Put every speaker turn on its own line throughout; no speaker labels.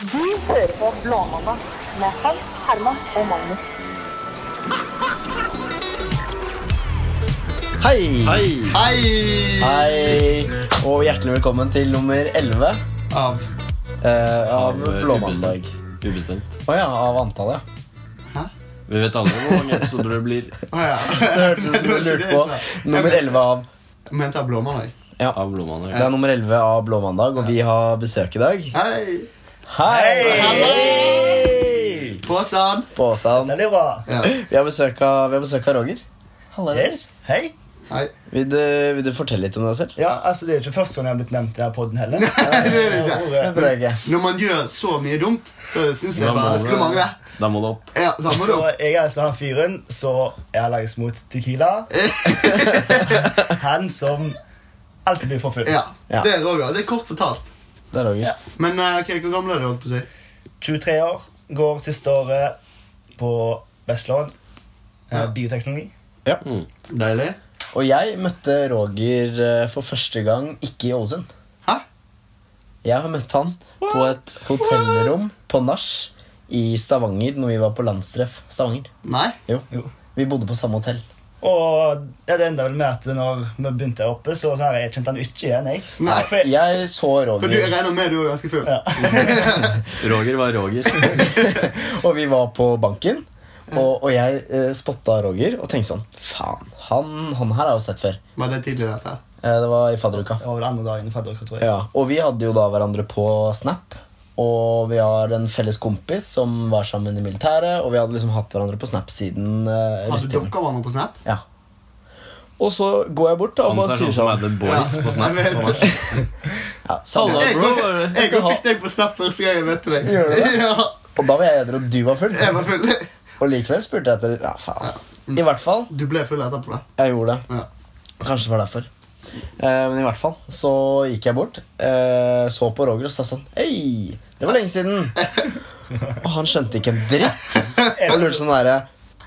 Du hører på Blåmandag med Hans, Herman og Magnus.
Hei!
Hei!
Hei!
Hei! Og hjertelig velkommen til nummer 11 eh,
Av
av
eh,
Blåmandag.
Ubestemt.
Å ja, av antallet. ja.
Hæ?
Vi vet aldri hvor mange episoder det blir
Å ja.
Det hørtes ut som du
Det var ikke
lurte
det jeg
på.
sa.
Nummer 11 av
Jeg mente av blåmandag.
Ja.
av Blåmandag.
Det er nummer 11 av Blåmandag, og vi har besøk i dag.
Hei!
Hei!
Påsan!
Påsan.
Det blir bra.
Ja.
Vi har besøk av, vi har besøk av Roger.
Yes. Hei.
Hei.
Vil du, vil du fortelle litt om deg selv?
Ja, altså Det er jo ikke første gang jeg har blitt nevnt i denne podden heller.
det er det ikke.
Ordet.
Bra, Roger.
Når man gjør så mye dumt, så syns jeg
Da må
bare det skulle
det-
mangle.
Da må det opp.
Ja, da må du
Så
opp.
jeg er altså han fyren som er allergisk mot tequila. Han som alltid blir for full.
Ja.
Ja.
Det er Roger. Det er kort fortalt.
Det er Roger.
Ja.
Men eh, ok, hvor gammel er du? holdt på å si?
23 år. Går siste året på Vestland.
Ja.
eh, Bioteknologi.
Deilig.
Og jeg møtte Roger eh, for første gang ikke i Ålesund.
Hæ?
Jeg har møtt han på et hotellrom på nach i Stavanger når vi var på landstreff. Stavanger.
Nei?
Jo.
Jo.
Vi bodde på samme hotell.
Og ja, det enda vel med at når vi begynte her oppe, så, så her, jeg kjente han ikke igjen. jeg.
Nei.
For jeg
Jeg så
For du jeg
Roger,
regner med du er ganske full?
Ja.
Roger var Roger.
og vi var på banken. Og, og jeg eh, spotta Roger og tenkte sånn Faen, han, han her har jeg jo sett før.
Var det tidlig, dette?
Eh, det var i fadderuka.
Det var vel andre dagen i fadderuka, tror jeg.
Ja, og vi hadde jo da hverandre på Snap. Og vi har en felles kompis som var sammen i militæret, og vi hadde liksom hatt hverandre på Snap siden eh,
Hadde
russetiden.
dere hverandre på Snap?
Ja. Og så går jeg bort da, og
Han
bare
er
sier
sånn som er
sånn
The Boys
Ja,
på Snap.
jeg vet.
på nach.
ja, samme.
Hallo.
Jeg
bro,
går-
var det-
skal
jeg går
ha-
fikk deg på Snap første gang jeg møtte deg.
Gjør du det?
Ja,
Og da var jeg edru, og du var full.
jeg var full.
Og likevel spurte jeg etter Ja, faen. I hvert fall.
Du ble full etterpå, da.
Jeg gjorde det.
Ja.
Kanskje det var derfor. Eh, men i hvert fall så gikk jeg bort, eh, så på Roger og sa sånn Hei, det var lenge siden. Og han skjønte ikke en dritt. Og lurte sånn derre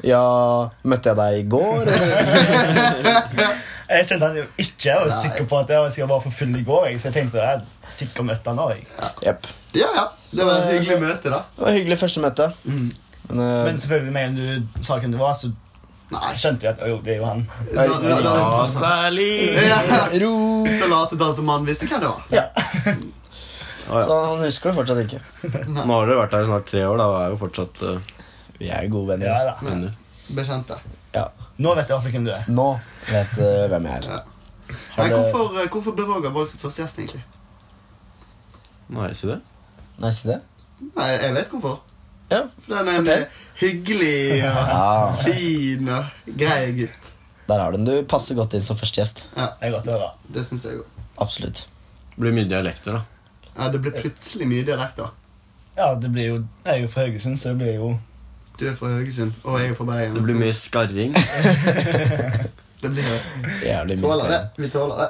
Ja, møtte jeg deg i går? Eller?
Jeg kjente han jo ikke. Jeg var sikker på at jeg var sikkert bare for full i går. Jeg, så jeg tenkte jeg er sikker møtte han nå. Jeg.
Jepp.
Ja, ja. Det var et hyggelig møte, da.
Det var hyggelig første møte.
Mm.
Men, eh,
Men selvfølgelig, med en gang du sa hvem det var, så
Nei.
skjønte jeg at jo, det er jo han.
Da, da, da,
Ja, særlig.
Ja.
ro
Så latet han som han visste hva det var.
ja.
Å,
Så
ja.
han husker det fortsatt ikke.
Nå har dere vært her i snart tre år, da, og er jo fortsatt eh,
Vi er gode venner.
Ja, da.
venner.
Bekjente.
Ja.
Nå vet jeg i hvert fall hvem du er.
Nå vet du hvem jeg er.
Nei,
det-
hvorfor, eh, hvorfor ble Roger valgt som første gjest, egentlig?
Nå er jeg ikke det.
Nei, si det.
Nei, Jeg vet hvorfor.
Ja.
For han er en
Fortell.
eh, hyggelig, og
ja.
fin og grei gutt.
Der har du den. Du passer godt inn som første gjest.
Ja,
Det er godt å høre.
Det syns jeg òg.
Absolutt.
Blir mye dialekter, da.
Ja, det ble plutselig mye dialekter.
Ja, det blir jo, Jeg er jo fra Haugesund, så det blir jo
Du er fra Haugesund, og jeg er fra Bergen.
Det blir mye skarring.
Det blir
Jævlig mye
Tåler det.
spennende.
Vi tåler det.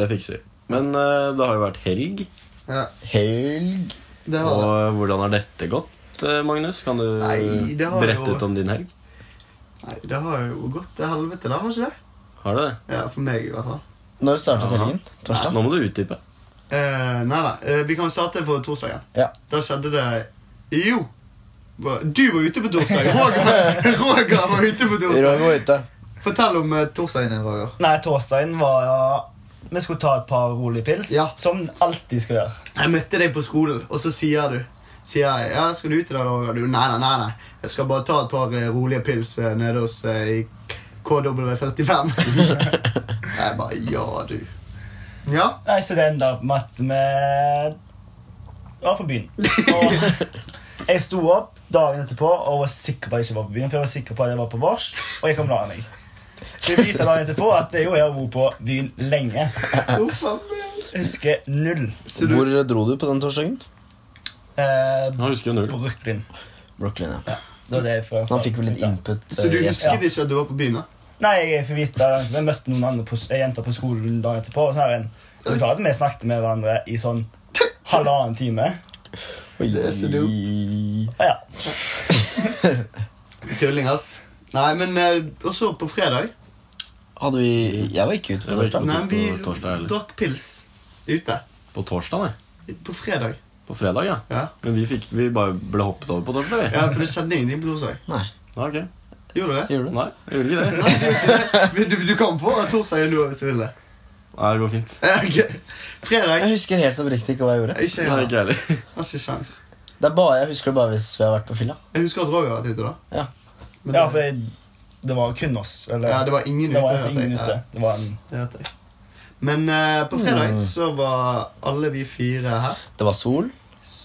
Det fikser vi. Men eh, det har jo vært helg,
Ja,
Helg
det
og
har det.
hvordan har dette gått, eh, Magnus? Kan du
Nei, det har
berette
jo-
ut om din helg?
Nei, det har jo gått til helvete, da, har ikke det?
Har du det?
Ja, For meg, i hvert fall.
Når startet
Ja.
helgen? Torsdag?
Nå må du utdype.
Eh, nei, nei. eh, vi kan starte på torsdagen.
Ja.
Da skjedde det Jo! hva- Du var ute på torsdag. Roger, Roger var ute på
Roger
torsdag.
var ute.
Fortell om eh, torsdagen din, Roger.
Nei, torsdagen var ja, Vi skulle ta et par rolige pils,
Ja.
som alltid skal gjøre.
Jeg møtte deg på skolen, og så sier du Sier jeg, ja, skal du ut i dag, Roger? Du, nei, nei, nei, nei. Jeg skal bare ta et par eh, rolige pils eh, nede hos eh, i KW45. jeg bare Ja, du. Ja.
Nei, Så det enda opp med at vi var på byen. Og jeg sto opp dagen etterpå og var sikker på at jeg ikke var på byen. For jeg var sikker på at jeg var på vors, og jeg kom og la meg. Så jeg vite dagen etterpå at jeg jo har vært på byen lenge.
Uff a meg.
Jeg husker null.
Så du-
Hvor dro du på den torsdagen?
Eh,
Han husker jo null.
Brooklyn.
Brooklyn, ja.
Det var det jeg fra, fra
Han fikk vel litt input.
Så du
eh, yes.
husket ikke at du var på byen? da?
Nei, jeg får vite Vi møtte noen andre på, ei jenter på skolen dagen etterpå. Og sånn her en, og da hadde vi snakket med hverandre i sånn halvannen time.
Oi.
Det er så
Og ja,
Tulling, ass. Nei, men eh, også på fredag
Hadde vi Jeg var ikke ute på
Jeg var
torsdag.
ikke ute.
Nei,
på
vi
torsdag, eller?
drakk pils ute.
På torsdag, nei.
På fredag.
På fredag, ja.
Ja.
Men vi, fikk, vi bare ble hoppet over på torsdag, vi.
Ja, for det skjedde ingenting på torsdag.
Nei,
Ja, ok.
Gjorde det?
gjorde du?
Nei, jeg gjorde ikke det.
Nei, du, gjorde ikke det. du, du kan få torsdag igjen nå hvis du vil det.
Nei, det går fint.
Ja, ok. Fredag
Jeg husker helt oppriktig ikke hva jeg gjorde.
Det
Ikke
er
jeg. da.
ikke jeg heller.
Har ikke sjans.
Det er bare, jeg husker det bare hvis vi har vært på fylla.
Jeg husker at Roger har vært ute, da.
Ja.
Men
Ja,
det-
for jeg, det var kun oss. Eller,
Ja, det var ingen
det var
ute,
altså
hørte jeg.
ingen ute.
Ja.
Det var en,
Det vet jeg. Men eh, på fredag så var alle vi fire her.
Det var sol,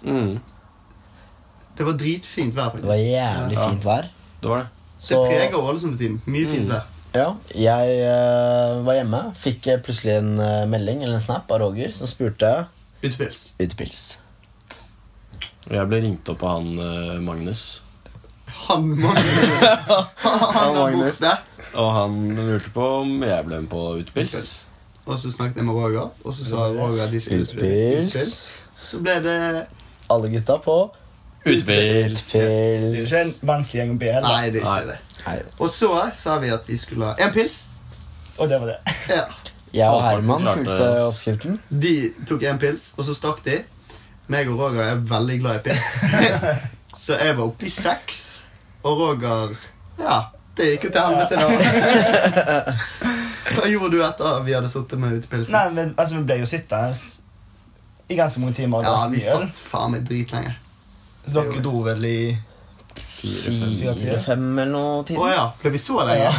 Mm,
Det var dritfint vær, faktisk.
det var jævlig
Ja.
fint vær.
det var det.
Det
Så Mm.
preger Ålesund for tiden. Mye fint vær.
ja, jeg eh, var hjemme, fikk eh, plutselig en eh, melding eller en snap av Roger som spurte
Utepils.
utepils.
Og jeg ble ringt opp av han eh, Magnus.
Han Magnus. Han er
Magnus.
borte.
Og han lurte på om jeg ble med på utepils.
Og så snakket jeg med Roger, og så sa Roger at de skulle
Utepils.
Så ble det
Alle gutta på
Utepils!
det er jo
pils.
ikke en vanskelig gjeng å be heller.
Nei, det er ikke det.
Nei,
Og så sa vi at vi skulle ha en pils.
Og det var det.
Ja.
Jeg og
Halvparten
Herman
klarte
fulgte
s-
oppskriften.
De tok en pils, og så stakk de. Meg og Roger er veldig glad i pils. så jeg var oppe i seks, og Roger Ja, det gikk jo til helvete, da. Hva gjorde du etter vi hadde sittet med utepilsen?
Nei, men altså, vi ble jo sittende i ganske mange timer. og
Ja,
drakk
vi
mye øl.
satt faen meg dritlenge.
Så dere dro vel i fire.
Fire-fem eller noe
Å
tid.
ja, ble vi så lenge?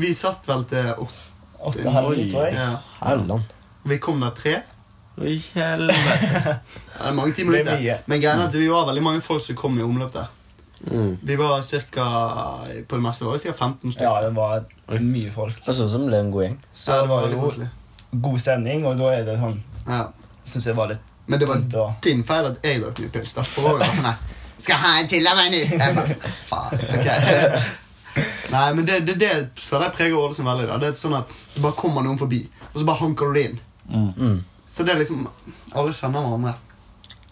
Vi satt vel til åtte.
åtte halv ni,
Oi.
tror jeg.
Ja.
Herland.
Vi kom der tre.
Oi, helvete.
Ja, det er mange timer
Det er
ute.
mye.
Men greia er at vi var veldig mange folk som kom i omløp der.
Mm.
Vi var cirka, På det meste var vi ca. 15 stykker.
Ja, det var mye folk.
Det så ut som det ble en god gjeng.
Så det var jo
koselig.
god stemning, og da er det sånn
Ja.
Syns jeg var litt
Men det
Fint,
var
da.
din feil at jeg drakk mye pils. da. For Roger var sånn her, Skal ha en til av meg nys. Jeg bare sånn, Faen. ok. Nei, men det, det, det føler jeg preger Ålesund veldig. da. Det er sånn at Det bare kommer noen forbi, og så bare hanker du det inn.
Mm.
Så det er liksom Alle kjenner hverandre.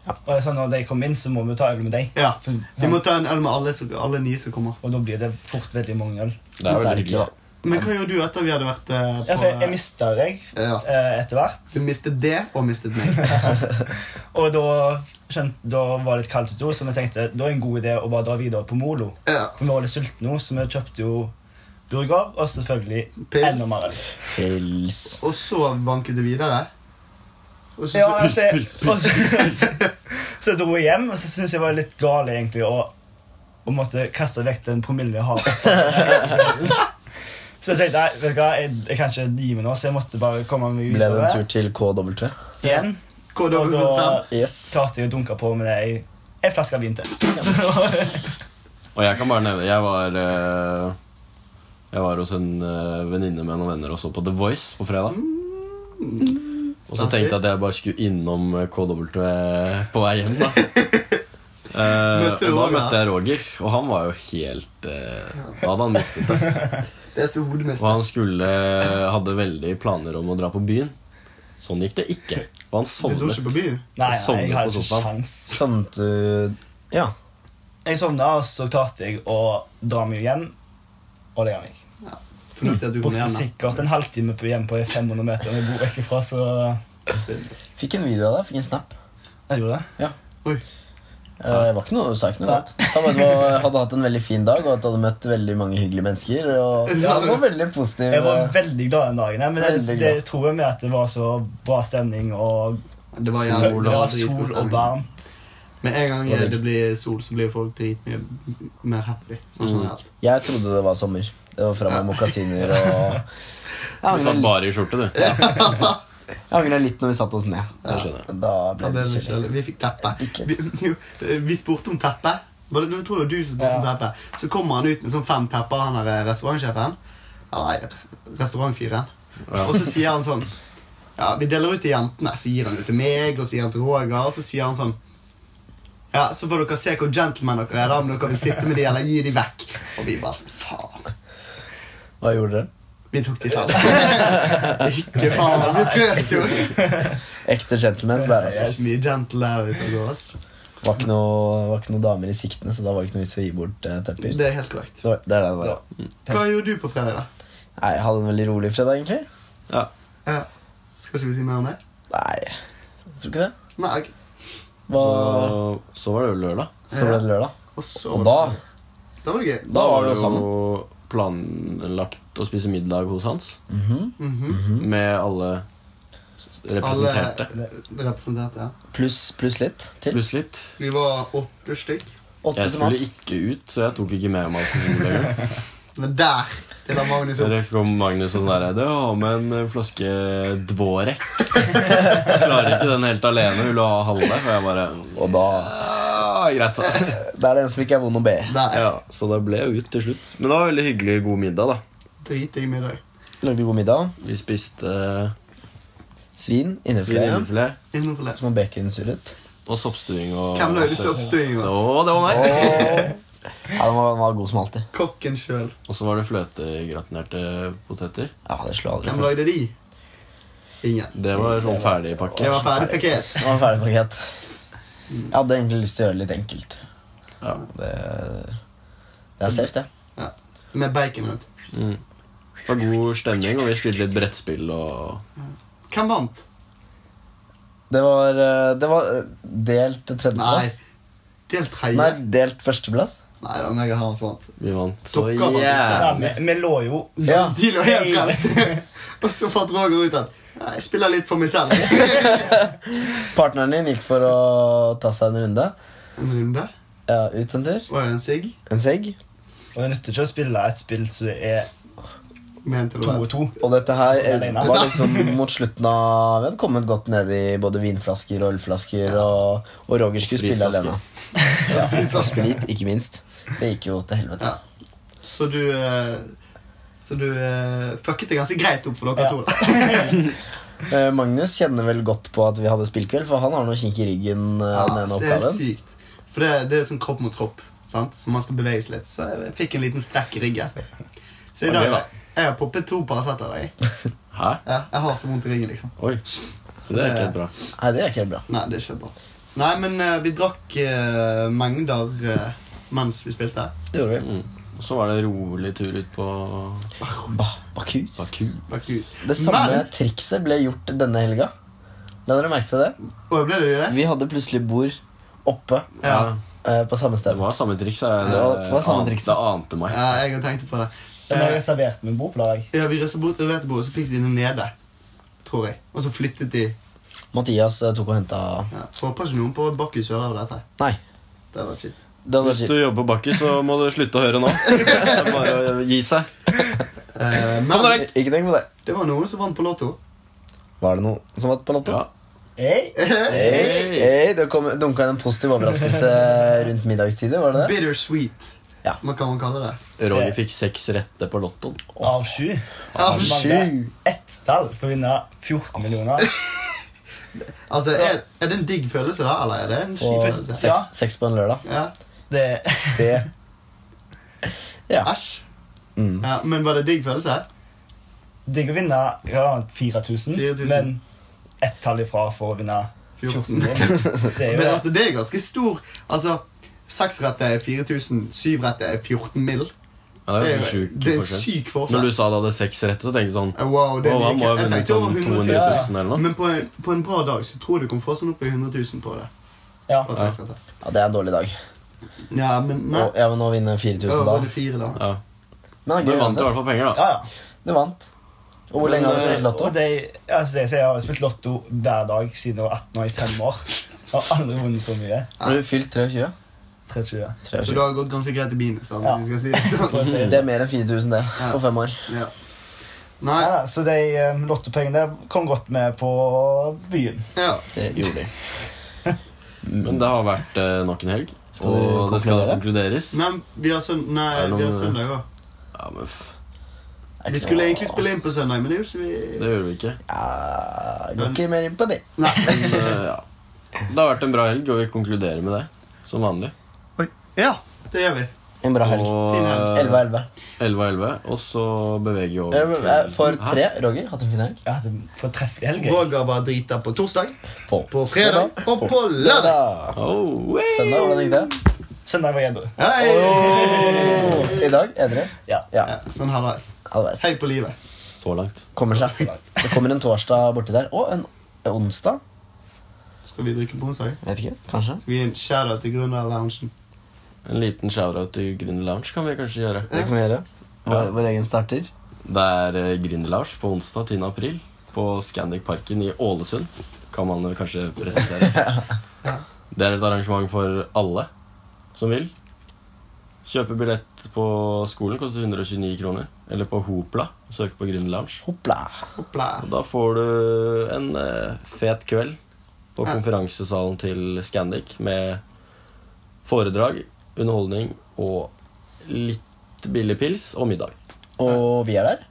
Og det er sånn, Når de kommer inn, så må vi ta øl med deg.
Ja.
For-
Vi må ta en øl med alle, som- alle nye som kommer.
Og da blir det fort veldig mange øl.
Det er
Så
veldig
er det
hyggelig,
ikke-
da.
Men hva gjorde du etter vi hadde vært eh,
Ja,
på
for jeg, jeg mista deg
Ja.
eh, etter hvert.
Du mistet det, og mistet meg.
Og da, skjønte, da var det litt kaldt ute, så vi tenkte da er det en god idé å bare dra videre på Molo.
Ja.
For vi var litt sultne nå, så vi kjøpte jo burger og selvfølgelig
Pils.
enda mer øl.
Pils.
Og så vanket det videre. Og så,
Ja,
så,
altså, og så, så dro jeg hjem, og så syntes jeg var litt gal egentlig å, å måtte kaste vekk den promillen jeg har. Så jeg tenkte nei, vet du hva, jeg, jeg kan ikke gi meg nå, så jeg måtte bare komme meg
Ble det
videre
en tur til KW?
igjen. Og da
KW5.
Yes.
klarte jeg å dunke på med ei, ei flaske vin til. Så,
Og jeg kan bare nevne Jeg var eh, Jeg var hos en eh, venninne med noen venner og så på The Voice på fredag. Og så tenkte jeg at jeg bare skulle innom eh, KW på vei hjem, da. Eh,
Møtte
og
du
da
Roger?
møtte jeg Roger, og han var jo helt eh, Da hadde han mistet det.
Det er så hodemist.
Og han skulle eh, hadde veldig planer om å dra på byen. Sånn gikk det ikke. Og han
Du dro
sovnet.
ikke på byen?
nei, nei,
Sovnet
jeg
på
hadde ikke
sofaen.
sjans.
Sånn at du Ja.
Jeg sovna, og så klarte jeg å dra meg hjem og legge meg.
Fornuftig at du kom
Brukte
hjem. da.
sikkert en halvtime på hjem på 500 meter når jeg bor vekk ifra, så
Fikk en video av deg. Fikk en snap.
jeg gjorde det.
Oi,
Eh, Det var ikke noe, sa ikke noe galt. Sa bare at du hadde hatt en veldig fin dag, og at du hadde møtt veldig mange hyggelige mennesker. Og ja, det var veldig positiv eh.
Jeg var veldig glad den dagen, men det,
Veldig
det
glad.
tror jeg med at det var så bra stemning, og
det var
det
jævlig
var
dritgod
sol og
stemning.
varmt.
Med en gang eh, det blir sol, så blir folk dritmye mer happy. Sånn generelt.
Jeg trodde det var sommer. Det var fra meg mokasiner og
Du
Jeg
satt
angrer litt-
bare i skjorte, du. Ja,
jeg angrer litt når vi satte oss ned.
det skjønner jeg.
Da
Da
ble det
ble
litt
det litt
kjedelig.
kjedelig. Vi fikk teppe.
Ikke.
Vi, jo, vi spurte om teppe. Var det, jeg tror det var du som spurte om
Ja.
teppe. Så kommer han ut med sånn fem tepper, han der restaurantsjefen. Eller restaurantfyren.
Ja.
Og så sier han sånn Ja, vi deler ut til jentene. Så gir han det til meg, og så gir han til Roger, og så sier han sånn ja, Så får dere se hvor gentlemen dere er, da, om dere vil sitte med de eller gi de vekk. Og vi bare sånn Faen.
Hva gjorde dere?
Vi tok de selv. Ikke faen. Vi frøs jo. Det
Ekte gentlemen. Der,
er
altså.
ikke mye gentle der ute og går, ass.
var, ikke noe, var ikke noe damer i siktene, så da var det ikke noe vits å gi bort eh, tepper.
Det er helt korrekt.
Så Det, var- det er det det var.
Hva gjorde du på fredag, da?
Nei, Jeg hadde en veldig rolig fredag, egentlig.
Ja.
Ja. Skal ikke vi si mer om det?
Nei, jeg tror ikke det.
Nei, ok.
Hva,
Så, så var det jo lørdag.
så ble det lørdag.
Og så
Og da
Da var det gøy.
Da var vi jo
jo planlagt å spise middag hos Hans.
Mhm.
Med alle s- representerte.
Alle representerte. Ja.
pluss pluss litt til.
Pluss litt.
Vi var åtte stykk.
Åtte
Jeg
som
skulle
hatt.
ikke ut, så jeg tok ikke med meg alkohol lenger.
Men der stiller Magnus opp.
Der kom Magnus og sånn der Du har med en eh, flaske Dvorek. Klarer ikke den helt alene. Vil du ha halve? Og jeg bare
Og da
«Ja, Greit, da.
Da er det en som ikke er vond å be.
Der.
Ja, så da ble jeg ut til slutt. Men det var veldig hyggelig god middag, da.
Dritdigg middag.
Lagde god middag.
Vi spiste
Svin, innefilé,
svinefilet
Innenfor det.
som var baconsurret.
og soppstuing og
Hvem lagde soppstuingen? da?
Å, det var
Og
meg!
ja, den var, den var god som alltid.
Kokken sjøl.
Og så var det fløtegratinerte poteter.
Ja, det slår aldri
Hvem
feil.
lagde de? Ingen.
Det var sånn
Det
ferdigpakke.
var ferdig pakket.
Det var en ferdig pakket. Jeg hadde egentlig lyst til å gjøre det litt enkelt.
Ja.
Det, det er safe, det.
Ja. Med bacon rundt.
Mm. Det var god stemning, og vi spilte litt brettspill og
Hvem vant?
Det var, eh, det var eh, delt
Nei.
tredjeplass.
Delt tredje.
Nei,
Nei,
delt førsteplass.
det var meg og Hans vant.
Vi vant så
Dere vant ikke.
Ja,
jævlig.
vi, vi lå jo
Ja.
De lå helt fremst. og så fant Roger ut at "Ja, jeg spiller litt for meg selv.
Partneren din gikk for å ta seg en runde.
En runde.
Ja, ut en tur.
Var det en sigg?
En segg.
Og det nytter ikke å spille et spill som er
Med en til
to og
hver.
to.
Og dette her
Sånn
eh,
Alene.
var liksom mot slutten av Vi hadde kommet godt ned i både vinflasker og ølflasker, og, og Roger skulle spille
Spritflasker.
alene.
Spritflaske.
Sprit, ikke minst. Det gikk jo til helvete.
Ja. Så du eh, Så du eh, fucket det ganske greit opp for dere
Ja.
to. da
Eh, Magnus kjenner vel godt på at vi hadde spillkveld, for han har noe kink i ryggen. eh, den ene
det er helt
oppgaven
sykt. For det, det er sånn kropp mot kropp. Sant? Så man skal bevege seg litt. Så jeg fikk en liten strekk i ryggen. Så i dag jeg har poppet to Paracet av deg.
Hæ?
Ja, jeg har så vondt i ryggen, liksom.
Oi. Så det er ikke helt bra.
Nei, det er ikke helt bra.
Nei, det er ikke bra. Nei, men eh, vi drakk eh, mengder eh, mens vi spilte.
Det gjorde vi.
Mm. Og så var det en rolig tur ut på
Ba Bakus.
Baku.
Bakhus.
Det samme
Men,
trikset ble gjort denne helga. La dere merke til det?
Å, ble det det?
Vi hadde plutselig bord oppe
Ja.
eh, på samme
Det
sted.
var samme triks.
Det var- det var samme triks.
Det ante meg.
ja, jeg har tenkt på det.
Men
Eh,
jeg reserverte min bord på dag.
Ja, Vi reserverte bordet, så fikk de det nede. Tror jeg. Og så flyttet de.
Mathias eh, tok og henta
Ja. Så Håper ikke noen på Bakkhus hører av dette.
Nei.
Det var kjipt.
Det
Hvis du
var
jobber på Baku, så må du slutte å høre nå. Det er bare å gi seg.
Eh,
Kom dere
men
vekk!
ikke tenk på det.
det var noen som vant på Lotto.
Var det noe som var på lotto?
Ja.
Hey.
Hey,
Hey.
hey, det kom- dunka inn en positiv overraskelse rundt middagstider. var det det?
Bittersweet.
Ja.
Hva kan man kalle det?
Roger fikk seks rette på lottoen.
Av sju.
Av
sju.
Mangler ett tall for å vinne 14 millioner.
Altså, er, er det en digg følelse, da? Eller er det en
På
skip følelse?
Ja.
seks, seks på en lørdag.
Ja.
Det,
Det Ja.
Æsj.
Mm.
Ja, men var det digg følelse?
digg å vinne ja, 4000,
4000.
men ett tall ifra for å vinne 14
14.
millioner. Så er jo
men
det.
altså, det er ganske stor Altså, seksrette er 4000, syvrette er 14 mill.
Ja, det er jo sånn sjuk
det er
forskjell.
syk forskjell.
Når du sa du hadde seks rette, så tenkte jeg sånn
Eh, Wow, det
Wow,
er
han må ha
mye. Jeg
vunnet
tenkte over
sånn
100
200
000.
000 eller noe.
Men på en, på en bra dag så tror jeg du kan få sånn opp i 100 000 på det.
Ja.
På seksrette.
Ja, det er en dårlig dag.
Ja, men nei.
Og jeg må nå vinne
Ja,
4000 da.
var det fire, da?
Ja.
Men
Du
det er gøy
vant i
uansett.
hvert fall penger, da.
Ja, ja.
Du vant. Og hvor
Men,
lenge har du
eh,
spilt lotto?
Og de, altså, jeg, jeg har jo spilt lotto hver dag siden jeg var 18 år i fem år. Jeg har aldri vunnet så mye.
Har du fylt 23?
23.
Så det har gått ganske greit i minus. da,
Ja.
hvis vi skal si det
For å
sånn.
si det
Det er mer enn 4000, det. På fem år.
Ja. Nei,
Ja, da, så de eh, lottopengene der kom godt med på byen.
ja.
Det gjorde de.
Men det har vært eh, nok en helg.
Skal vi
Og det skal
konkludere?
konkluderes.
Men vi har, søn nei,
Er det noen-
vi har søndag òg.
Ja, men f...
Vi skulle egentlig spille inn på søndag, men det gjorde ikke vi
Det gjør vi ikke.
Ja, Går ikke mer inn på det.
Nei.
Men, eh, ja. Det har vært en bra helg, og vi konkluderer med det. Som vanlig.
Ja, det gjør vi.
En bra helg.
Fin helg.
11
Og
av 11.
11 av 11. Og så beveger vi
Eh,
over
eh, For
Hæ?
tre, Roger, hatt en fin helg.
Jeg hadde fortreffelig helg. jeg.
Roger var drita på torsdag,
På,
på fredag og på lørdag.
Lørdag.
Oh, wey.
Søndag, hvordan gikk det?
Søndag var jeg edru.
Hei!
I dag edru.
Ja.
Ja.
Ja, sånn halvveis.
Halvveis.
Hei på livet.
Så langt.
Kommer seg. Det kommer en torsdag borti der. Og en onsdag.
Skal vi drikke bonsai?
Vet ikke. Kanskje.
Skal vi gi en shoutout til Grünerloungen?
En liten shoutout til Grüner Lounge kan vi kanskje gjøre.
Det kan vi gjøre. Vår, vår egen starter.
Det er eh, Grüner-Lars på onsdag 10. april på Scandic Parken i Ålesund. Kan man eh, kanskje presisere. Det er et arrangement for alle som vil. Kjøpe billett på skolen koster 129 kroner. Eller på Hopla. Søk på Grüner-Lounge.
Hoppla.
Hoppla.
Og Da får du en eh, fet kveld på konferansesalen til Scandic med foredrag, underholdning og litt billig pils og middag.
Og vi er der.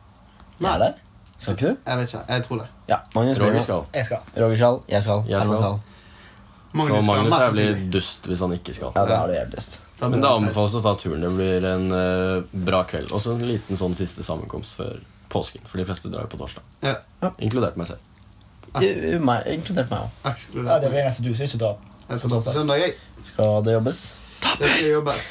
Jeg
Nei.
er der. Skal ikke du?
Jeg vet ikke. Jeg tror det.
Ja. Magnus
Roger
Roger
skal.
Jeg skal.
Roger skal. Jeg skal.
Jeg
Herman
skal. Så
skal
Magnus
mest
er
sannsynlig.
blir dust hvis han ikke skal.
Ja, da er det jævligst.
Da
Men
blir
det
han-
anbefales å ta turen. Det blir en eh, bra kveld. Også en liten sånn siste sammenkomst før påsken, for de fleste drar jo på torsdag.
Ja,
Inkludert meg selv.
Absolutt.
I- i meg- Inkludert meg òg.
Ja,
ekskludert.
det blir eneste du som ikke drar.
Jeg skal ta på søndag, jeg.
Skal det jobbes?
Det skal jobbes.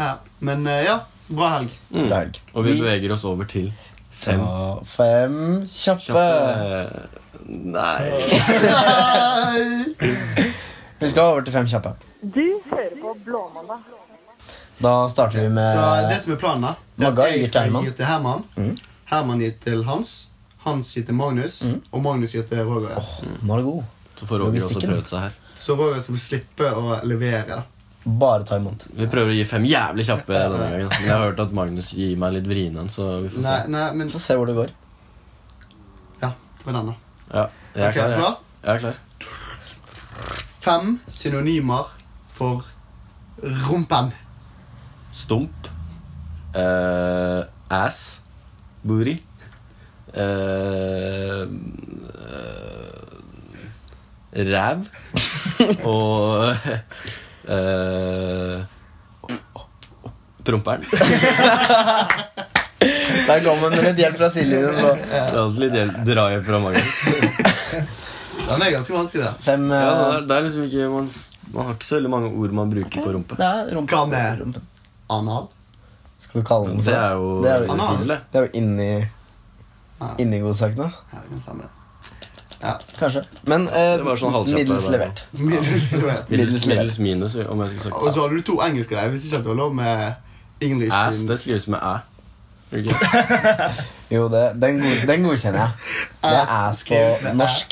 Ja. Men eh, ja, bra helg.
God helg.
Mm. Og vi beveger oss over til fem
Ta fem kjappe.
kjappe Nei
Vi skal over til fem kjappe.
Du hører på Blåmandag.
Da starter vi med
Så det som er planen, da det er
Magga
at
gir
jeg
til
skal
Herman.
gi til Herman.
Mm.
Herman gir til Hans. Hans gir til Magnus.
Mm.
Og Magnus gir til Roger.
Nå er det god.
Så får Roger også
Logistikken.
prøvd seg her.
Så Roger skal slippe å levere. da
Bare ta imot.
Vi prøver å gi fem jævlig kjappe denne gangen. Men jeg har hørt at Magnus gir meg litt vrien en, så vi får
Nei,
se.
nei, men
Så ser vi hvor det går.
Ja, det var den, da.
Ja, jeg er
Ok,
klar. Jeg,
klar?
jeg er klar.
Fem synonymer for rumpen.
Stump. eh, ass. Booty. eh, eh, ræv. Og eh, Promperen.
Der kom han med litt hjelp fra Silje.
Det er alltid litt hjelp- drahjelp fra Magnus.
Den er ganske vanskelig, den.
Fem eh,
Ja, det, er, det er liksom ikke man, s- man har ikke så veldig mange ord man bruker på rumpe.
Det er rumpa.
Hva med?
eh, rumpen.
Anal.
Skal du kalle den for
Det er jo
Det er jo,
Anal.
hullet.
det er jo inni,
Ja.
inni godsakene.
Ja, det kan stemme, det.
Kanskje. Men eh,
Det var sånn halvkjapt
middels
der, bare.
levert.
Middels levert.
Middels,
Middels levert.
middels minus, om jeg skulle
Og
sagt.
så hadde du to engelske der. Jeg visste ikke at det var lov med English.
Ass,
in-
det skrives med æ. Gjør det ikke?
Jo, det, den, god, den godkjenner jeg. Det er
Ass
ass på
skrives med æ.
norsk.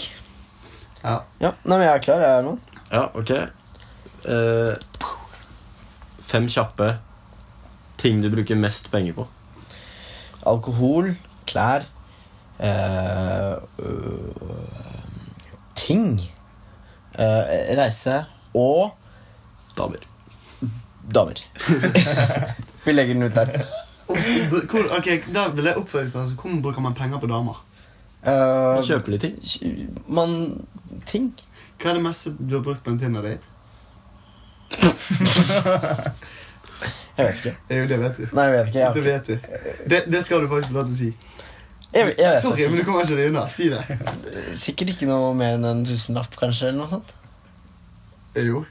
Ja.
Ja, nei, men Jeg er klar, jeg, Herman.
Ja, ok. Eh, fem kjappe ting du bruker mest penger på.
Alkohol, klær eh, øh, Ting. Eh, reise og
Damer.
damer. Vi legger den ut der.
Hvor, ok, Da vil jeg oppfølgingsspørsmål. Hvordan bruker man penger på damer?
Eh,
Kjøper litt ting.
man Ting.
Hva er det meste du har brukt på en Tinder-date?
Jeg vet ikke.
Det er jo det, vet du.
Nei, jeg vet ikke. Jeg, har
Det
ikke-
vet du. Det, det skal du faktisk få lov til å si.
jeg, jeg vet
Sorry,
faktisk
men du kommer ikke deg unna. Si det.
ikke. Sikkert ikke noe mer enn en tusenlapp, kanskje. eller noe sånt
Jo.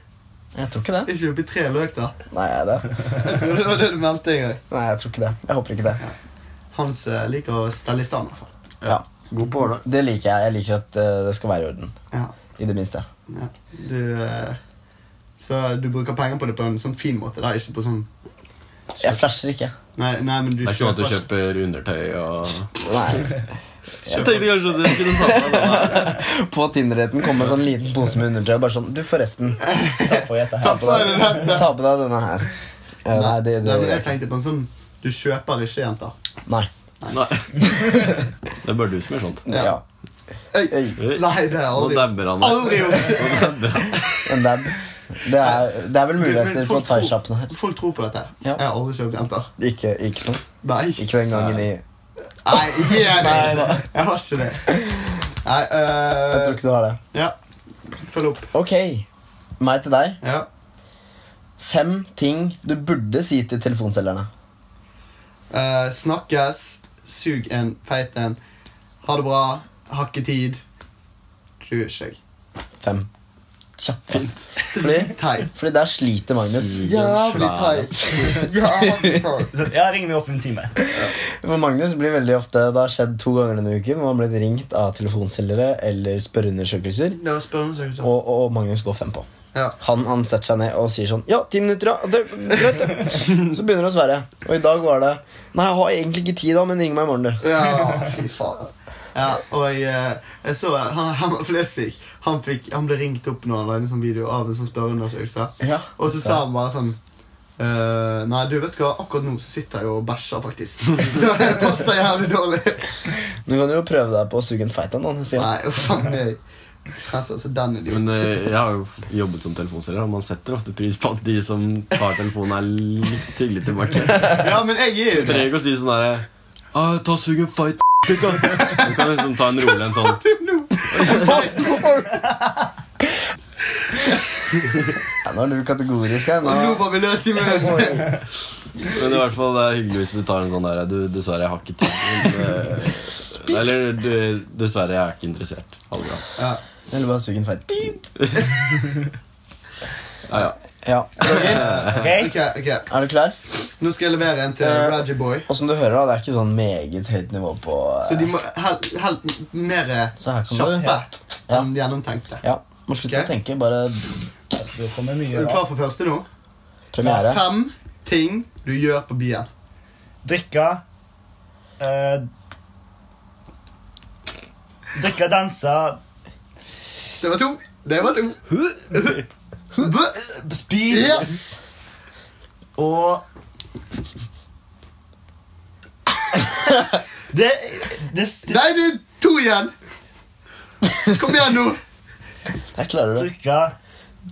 Jeg tror ikke
Er
det.
ikke du oppe i tre løk, da?
Nei, jeg, det.
Jeg trodde det var det du meldte en gang.
Nei, jeg tror ikke det. Jeg håper ikke det.
Hans eh, liker å stelle i stand, i hvert fall.
Ja.
God på åla.
Det liker jeg. Jeg liker at eh, det skal være i orden.
Ja.
I det minste.
ja. Du, eh, så du bruker penger på det på en sånn fin måte, da? Ikke på sånn
Jeg flasher ikke.
Nei, nei men du
Det er ikke sånn at du
kjøper-
kjøper undertøy og
Nei.
Jeg tenkte kanskje at du skulle ta med deg det.
På Tinder-daten kom en sånn liten pose med undertøy. Bare sånn Du, forresten.
Takk for dette
Ta
her.
på deg den.
Ta på deg denne her. Eh, Nei, det, det,
Nei, men
det
jeg tenkte på en sånn Du kjøper ikke jenter.
Nei.
Nei. Det er bare du som gjør sånt.
Ja.
Øy.
Øy.
Nei, det
Nå
har jeg aldri
dabber han meg.
Aldri gjort.
Nå dabber han.
En dab. Det er, det er vel muligheter
Men
på
folk tror-
thaisjappene her.
Folk tror på dette.
Ja.
Jeg har aldri kjøpt jenter.
Ikke, ikke noe.
Nei.
Ikke den gangen i Jeg
Nei, gi deg det.
Nei, da.
Jeg har ikke det. Nei, øh,
tror ikke du har det.
Ja. Følg opp.
Ok. Meg til deg.
Ja.
Fem ting du burde si til telefonselgerne.
Eh, snakkes. Sug en feit en. Ha det bra. Har ikke tid. Du er ikke jeg.
Fem. kjapt. ass.
Fordi? Teit.
Fordi der sliter Magnus.
Suger
Jævlig
svære.
teit. Jævlig teit.
Sånn, ja, ring meg opp om en time.
For Magnus blir veldig ofte Det har skjedd to ganger denne uken hvor han har blitt ringt av telefonselgere eller spørreundersøkelser.
Det var spørreundersøkelse.
Og, og Magnus går fem på.
Ja.
Han, han setter seg ned og sier sånn Ja, ti minutter, ja. Det, greit, det. Så begynner han å sverre. Og i dag var det Nei, jeg har egentlig ikke tid, da, men ring meg i morgen, du.
Ja, fy faen. Ja, og jeg, jeg så eh, han, Herman Flesvig han, fikk, han ble ringt opp nå han la inn en sånn video av en sånn spørreundersøkelse.
Ja.
Og så sa han bare sånn «Eh, Nei, du vet hva, akkurat nå så sitter jeg og bæsjer, faktisk. Så det passer jævlig dårlig.
Du kan jo prøve deg på å suge en feit en, da. Stian.
Nei, uff a meg. Frelser altså den idioten.
Men eh, jeg har jo f- jobbet som telefonselger, og man setter ofte pris på at de som tar telefonen, er litt hyggelige tilbake.
Ja, men jeg er jo
Du
det.
trenger ikke å si sånn herre «Ah, Ta og sug en fight, pikk, da!» Du kan liksom ta en rolig en sånn.
Ja, nå er du kategorisk her.
Og nå
Nå.
var vi løs i munnen.
Men i hvert fall det er hyggelig hvis du tar en sånn der du, 'Dessverre, jeg har ikke tid.' Men, eh, eller du, 'Dessverre, jeg er ikke interessert'. Ha det bra.
Ja,
Eller bare suge en feit. Beep.
ja, ja.
Ja.
Ok,
Ok?
ok, ok.
Er du klar?
Nå skal jeg levere en til
Eh.
Raji Boy.
Og som du hører, da, det er ikke sånn meget høyt nivå på eh,
Så de må helt, helt mer
Så her kan du-
kjappe
Ja.
enn gjennomtenkte.
Ja, må slutte
Ok.
å tenke. Bare
Det kommer
Er
mye
du
da.
klar for første nå?
premiere.
Fem ting du gjør på byen.
Drikke eh, Drikke, danse,
Det var to. Det var to. Bø-
spy
Yes!
og Det, det st-
Nei, det er to igjen. Kom igjen nå.
Der klarer du det.
Drikke,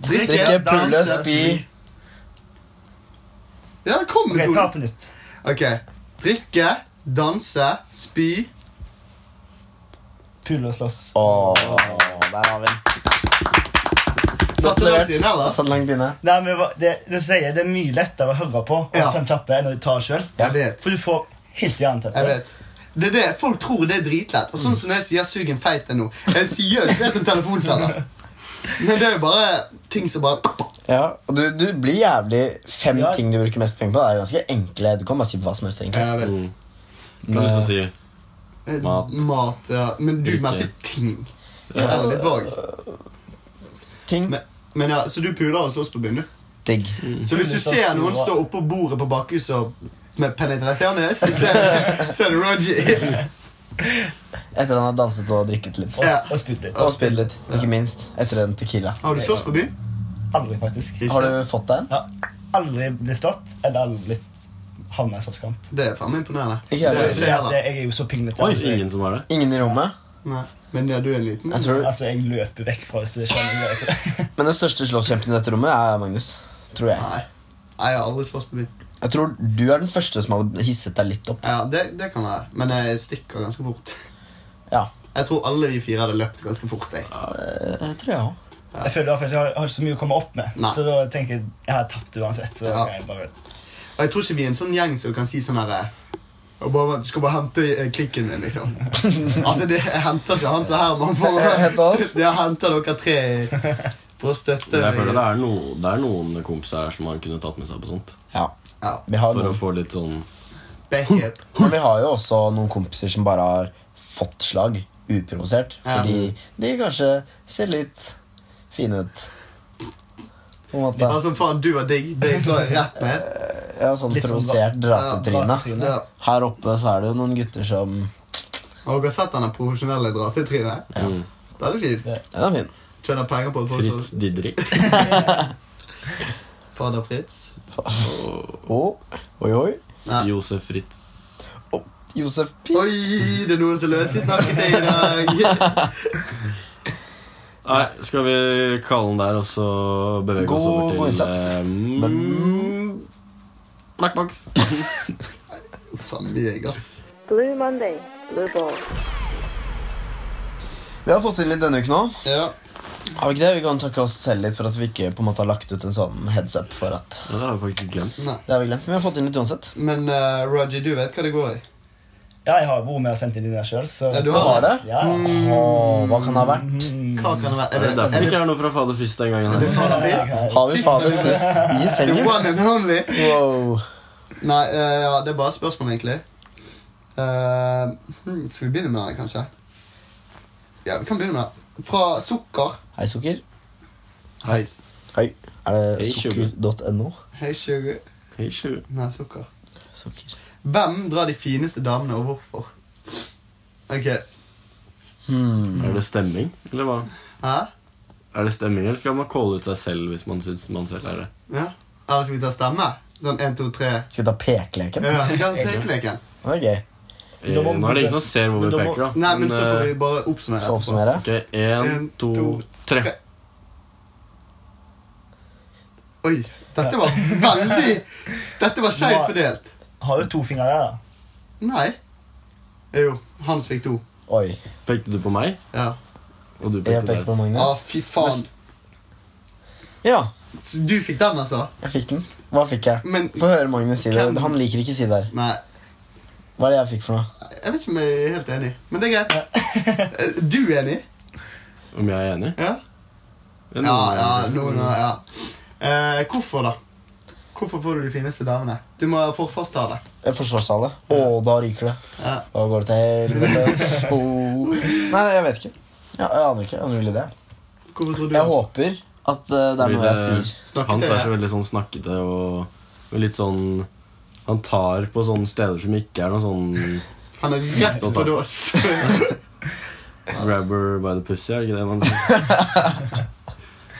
Drikke,
Drikke.
pulle,
danse.
spy.
Ja, kom
Ok,
med
ta
to.
på nytt.
Ok. Drikke, danse, spy.
Pule og slåss.
Åh, der har vi den.
Satt det langt inne, eller?
Satt langt inne.
Nei, men hva- det, det sier jeg, det er mye lettere å høre på
Ja.
ja. fem kjappe enn å ta sjøl.
Jeg vet.
For du får helt jernteppe.
Jeg vet. Det er det, Folk tror det er dritlett. Og sånn som når jeg sier 'sug en feit en' nå. Jeg sier jo ikke det til en telefonselger. Men det er jo bare ting som bare
Ja, og du, du blir jævlig Fem
Ja.
ting du bruker mest penger på, er ganske enkle. Du kan bare si hva som helst, egentlig.
Jeg vet.
Kan du så si
Eh,
Mat.
Mat, ja. Men du
Drikke.
meldte ting. Jeg er litt vag.
Ting.
Men, men ja, Så du puler hos oss på byen, du?
Digg.
Så hvis du
Puler,
ser
så
noen
puler.
stå oppå bordet på bakhuset og- med penetrerende, så ser du- så er det Roger.
Etter han har danset og drikket litt.
Og,
Ja.
og spydd litt.
Og spilt litt, ikke minst. Etter en tequila.
Har du slåss på byen?
Aldri, faktisk.
Ikke.
Har du fått deg en?
Ja. Aldri blitt slått, eller aldri blitt havna i slåsskamp.
Det er faen meg imponerende.
Ikke jeg
Det er
vet.
Så
ikke
jeg,
jeg
at
heller.
jeg er jo så pinglete.
Oi,
altså, jeg-
ingen som har det?
Ingen i rommet?
Nei. Men ja, du er liten.
Jeg tror,
Altså, jeg løper vekk fra hvis det skjer noe. altså.
men den største slåsskjempen i dette rommet er Magnus. Tror jeg.
Nei. Nei, Jeg har aldri slåss på byen.
Jeg tror du er den første som har hisset deg litt opp.
Ja, det, det kan være. Men jeg stikker ganske fort.
Ja,
Jeg tror alle vi fire hadde løpt ganske fort. Jeg.
det tror jeg òg.
Jeg føler i hvert fall at jeg har, har ikke så mye å komme opp med.
Nei.
Så da tenker jeg jeg har tapt uansett. Så
Ja.
kan jeg bare
Og jeg tror ikke vi er en sånn gjeng som kan si sånn herre og bare, Du skal bare hente eh, klikken min, liksom. altså, det, Jeg henter ikke han som Herman for
Jeg henter oss.
Jeg henter dere tre for å støtte
Jeg føler det
meg.
er, no, det er noen kompiser her som man kunne tatt med seg på sånt.
Ja.
Ja,
Vi har,
For å
noen,
få litt sånn
backup.
men vi har jo også noen kompiser som bare har fått slag uprovosert.
Ja.
Fordi de kanskje ser litt fine ut. På en måte.
Altså, faen, du var digg. Det slår jeg rett med.
Ja, sånn
Litt sånn
provosert
dra
dratetryne.
til
Ja.
Her oppe så er det jo noen gutter som
Har dere sett den profesjonelle dratetrynet? Ja. Det er fint.
Den er fin.
Tjener penger på det
Fritz
fortsatt.
Didrik.
Fader Fritz.
Oh, oi, oi.
Nei.
Josef Fritz.
Oh, Josef P.
Oi, det er noen som løser snakket i dag.
Nei, skal vi kalle den der og så bevege oss
God-
over til
god innsats.
eh, mm, Black Box.
Faen, vi er gass.
Blue Monday, Blue Ball.
Vi har fått inn litt denne uken òg.
Ja.
Har vi ikke det? Vi kan takke oss selv litt for at vi ikke på en måte har lagt ut en sånn heads up for at
Ja, det har jeg faktisk glemt.
Nei.
Det har vi glemt, men vi har fått inn litt uansett.
Men eh, Roger, du vet hva det går i?
Ja, jeg har vært med og sendt inn de der sjøl, så
Ja, du
Hva
har
var det?
Ja, ja.
Åh, hva kan det ha vært?
Hva hva kan det være?
Det er
Er
derfor
det,
det
er det,
ikke er noe fra Faderfist den gangen. her
faderfist?
Har vi fader fest i
The
sengen?
one and only?
Wow.
Nei, eh, ja, det er bare spørsmål, egentlig. Eh, hmm, skal vi begynne med den, kanskje? Ja, vi kan begynne med den. Fra sukker
Hei, sukker.
Heis.
Hei. Er det
Hei, sukker.
sukker.no?
Hei, sugar.
Hei, sju.
Nei, sukker.
Sukker.
Hvem drar de fineste damene, og hvorfor? Ok,
Er det stemming, eller hva?
hæ?
Er det stemming, eller skal man calle ut seg selv hvis man syns man selv er det?
Ja. Eller skal vi ta stemme? Sånn én, to, tre.
Skal vi ta pekeleken?
Ja, vi kan ta pekeleken.
Det er gøy.
Eh,
Da må
Nå er det
vi-
ingen som ser hvor
men
vi
da må-
peker, da.
Nei, men så får
eh,
vi bare oppsummere.
Skal vi
etterpå.
oppsummere?
Ok, én,
En,
to,
to,
tre.
tre. Oi, dette var veldig Dette var skeivt
Hva-
fordelt.
Har jo to fingre der, da.
Nei. Jo, Hans fikk to.
Oi.
Pekte du på meg,
Ja.
og du
Jeg
pekte
pekte
der?
på
Ah,
Magnus.
fy faen.
Ja,
Så du fikk den, altså?
jeg fikk den. Hva fikk jeg?
Men
Få høre Magnus si det.
Hvem-
Han liker ikke si det her.
Nei,
Hva er det jeg fikk for noe?
jeg vet ikke om jeg er helt enig, men det er greit. Eh, Du er enig?
Om jeg er enig?
Ja?
Ja,
Ja, ja, noen har ja. Eh, Hvorfor, da? Hvorfor får du de fineste damene? Du må ha forsvarstale.
Eh, Forsvarstale. Å, da ryker det.
Ja.
Da går det til helvete. Oh. Nei, jeg vet ikke. Ja, jeg aner ikke. Jeg aner ikke det.
Hvorfor tror du
Jeg håper at eh, det er
Fordi
noe jeg sier.
Snakkete,
Hans er
ja.
så veldig sånn snakkete og og litt sånn Han tar på sånne steder som ikke er noe sånn
Han er rett
Fint å ta.
på dås.
grabber by the pussy, er det ikke det man sier?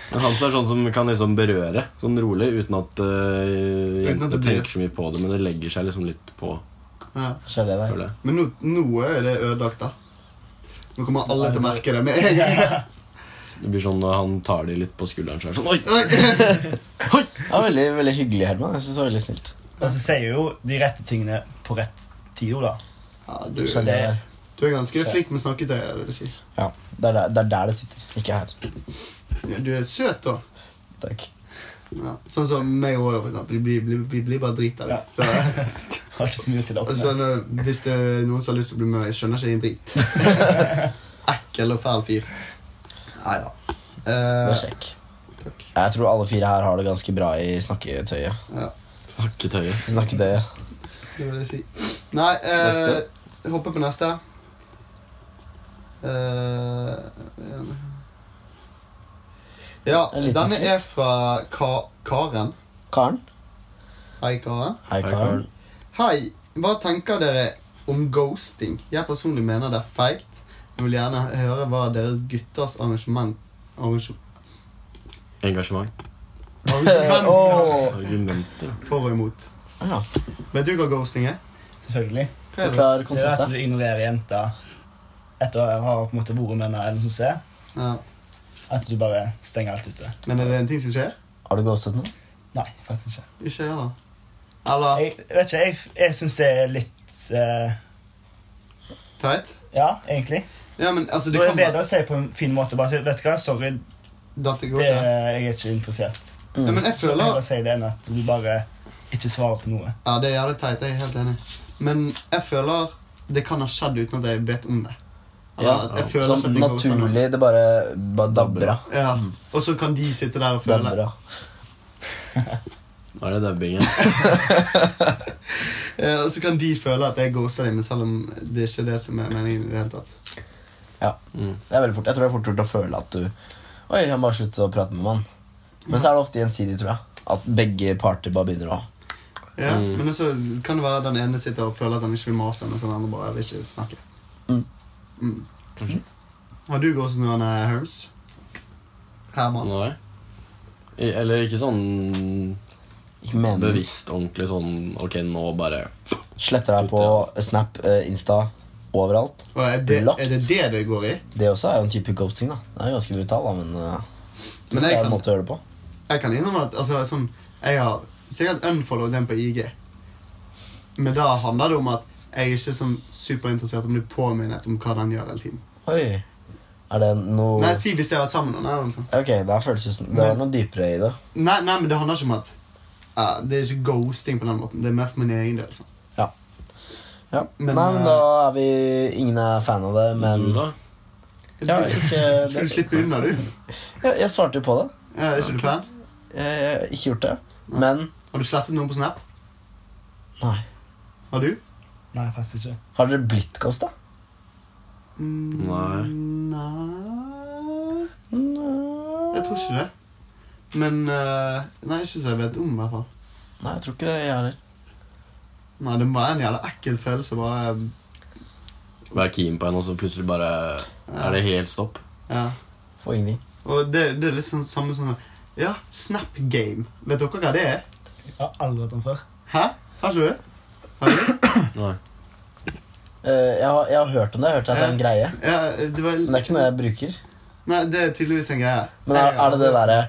Men Hans er sånn som kan liksom berøre, sånn rolig, uten at uh,
Uten at
jentene
det blir-
tenker så mye på det. Men det legger seg liksom litt på,
ja.
Kanskje det er det der.
føler jeg.
Men nå, nå er det ødelagt, da. Nå kommer alle til å merke det med en gang.
Det blir sånn når han tar de litt på skulderen, så er det sånn Oi!
Det var veldig, veldig hyggelig, Herman. Jeg synes det var veldig snilt.
Og så sier jo de rette tingene på rett tid, da.
Ja, du,
Så det, er-
du er ganske flink med snakketøy. jeg vil si.
ja, det, er der, det er der det sitter, ikke her.
Ja, Du er søt, da.
Takk.
Ja. Sånn som meg og Roy, for eksempel. Vi blir, blir, blir, blir bare drit av det.
Ja.
Så,
Har ikke så mye til å
og
oppnå.
så når, hvis det er noen som har lyst til å bli med, jeg skjønner ikke en drit. Ekkel og fæl fyr. Nei da.
Det er
Eh,
sjekk. Jeg tror alle fire her har det ganske bra i snakketøyet.
ja,
Snakketøyet.
Snakketøyet.
det vil jeg si. Nei, eh,
Neste.
hoppe på neste. Eh, ja,
En liten
denne
skritt.
er fra Ka Karen.
Karen.
Hei, Karen.
Hei,
Hei,
Karen.
Karen.
Hei, hva tenker dere om ghosting? Jeg personlig mener det er feigt. Jeg vil gjerne høre hva deres gutters arrangement arrangement-
Engasjement.
Arrangement
Eh, Åh.
Argumenter.
for og imot.
Ja,
Vet du hva ghosting er?
Selvfølgelig.
Hva er det?
forklar
Det er at
konseptet.
du ignorerer jenta etter å ha på en måte vært med henne eller noe sånt.
Ja.
At du bare stenger alt ute.
Men er det en ting som skjer?
Har du ghostet noen?
Nei, faktisk ikke.
Ikke jeg, da. Eller
Jeg vet ikke, jeg, jeg syns det er litt eh,
teit?
Ja, egentlig.
Ja, men altså,
Det
det
er
kan
det bedre
være
å si på en fin måte. Bare, si, vet du hva, sorry,
Dette går
det,
ikke.
jeg er ikke interessert.
Ja, men jeg
Så
føler
bedre å si det enn at du bare ikke svarer på noe.
Ja, det er jævlig teit. Jeg er helt enig. Men jeg føler det kan ha skjedd uten at jeg vet om det. Eller
Ja,
at jeg føler
Sånn
at det går sånn.
naturlig. Mm. Det bare, bare dabber av.
Ja. Og så kan de sitte der og føle
Dabber av.
Nå er det dabbingen.
Eh, Og så kan de føle at jeg ghoster dem, men selv om det er ikke det som er meningen. i det hele tatt
Ja.
Mm.
Det er veldig fort. Jeg tror det er fort gjort å føle at du Oi, jeg må bare slutte å prate med mann. Men så er det ofte gjensidig, tror jeg. At begge parter bare begynner å
ja,
Mm.
Men så kan det være den ene sitter og føler at han ikke vil mase, mens den andre bare vil ikke snakke.
Mm.
Mm. Har du ghostet noen eh, Herms? Herman?
Nei. I- Eller ikke sånn
Ikke mene det.
bevisst ordentlig sånn Ok, nå bare
Sletter deg på Snap, eh, Insta, overalt.
Og er, det,
Lagt.
er det det det går i?
Det også er jo en type ghosting, da. Det er ganske brutal, da, men, eh,
Men
det
jeg
er en
kan,
måte å gjøre det på.
jeg kan innrømme at altså, sånn, jeg har sikkert unfollowet den på IG. Men da handler det om at jeg er ikke sånn superinteressert om å bli påminnet om hva den gjør hele tiden.
Oi. Er det noe
Nei, si hvis jeg har vært sammen med noen. eller noe sånt.
Ok, det føles det som Det er noe dypere i det.
Nei, nei, men det handler ikke om at eh, Det er ikke ghosting på den måten. Det er mer for min egen del. Sånn.
Ja.
Men, eh,
Nei, men da er vi Ingen er fan av det, men
Du, da?
Ja, ikke,
Skal du
det,
slippe unna, du?
jeg, jeg svarte jo på det.
Ja, er ikke du fan?
Jeg, jeg har ikke gjort det. Men
Har du slettet noen på Snap?
Nei.
Har du?
Nei, faktisk ikke.
har dere blitt ghosta? Mm,
Nei.
Nei Jeg tror ikke det. Men eh, Nei, ikke så jeg vet om, i hvert fall.
Nei, jeg tror ikke det, jeg heller.
Nei, Det var en jævla ekkel følelse. Bare, um,
Være keen på en, og så plutselig bare er det helt stopp.
ja.
Får ingenting.
Og det, det er litt sånn samme som Ja, Snap Game. Vet dere hva det er?
Jeg har aldri hatt den før.
Hæ? Har ikke du? Har du?
Nei.
Eh, jeg, har, jeg har hørt om det. Jeg har hørt at det er en greie.
Ja, det var,
Men det er ikke noe jeg bruker.
Nei, det er tydeligvis en greie.
Men er, er det det derre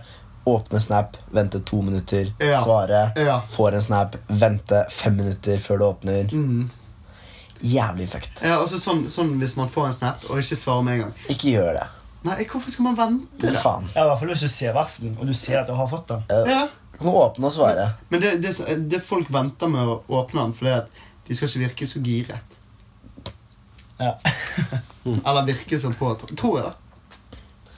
åpne snap, vente to minutter,
Ja.
svare,
Ja.
får en snap, vente fem minutter før du åpner?
Mm.
Jævlig fucked.
Ja, også sånn, sånn hvis man får en snap og ikke svarer med en gang.
Ikke gjør det.
Nei, hvorfor skal man vente? da?
Faen.
Ja, I hvert fall hvis du ser varselen, og du ser at du har fått den.
Ja.
Kan du åpne og svare?
Men det, det, det folk venter med å åpne den, fordi at de skal ikke virke så giret.
Ja.
Mm.
Eller virke så på, tror jeg da.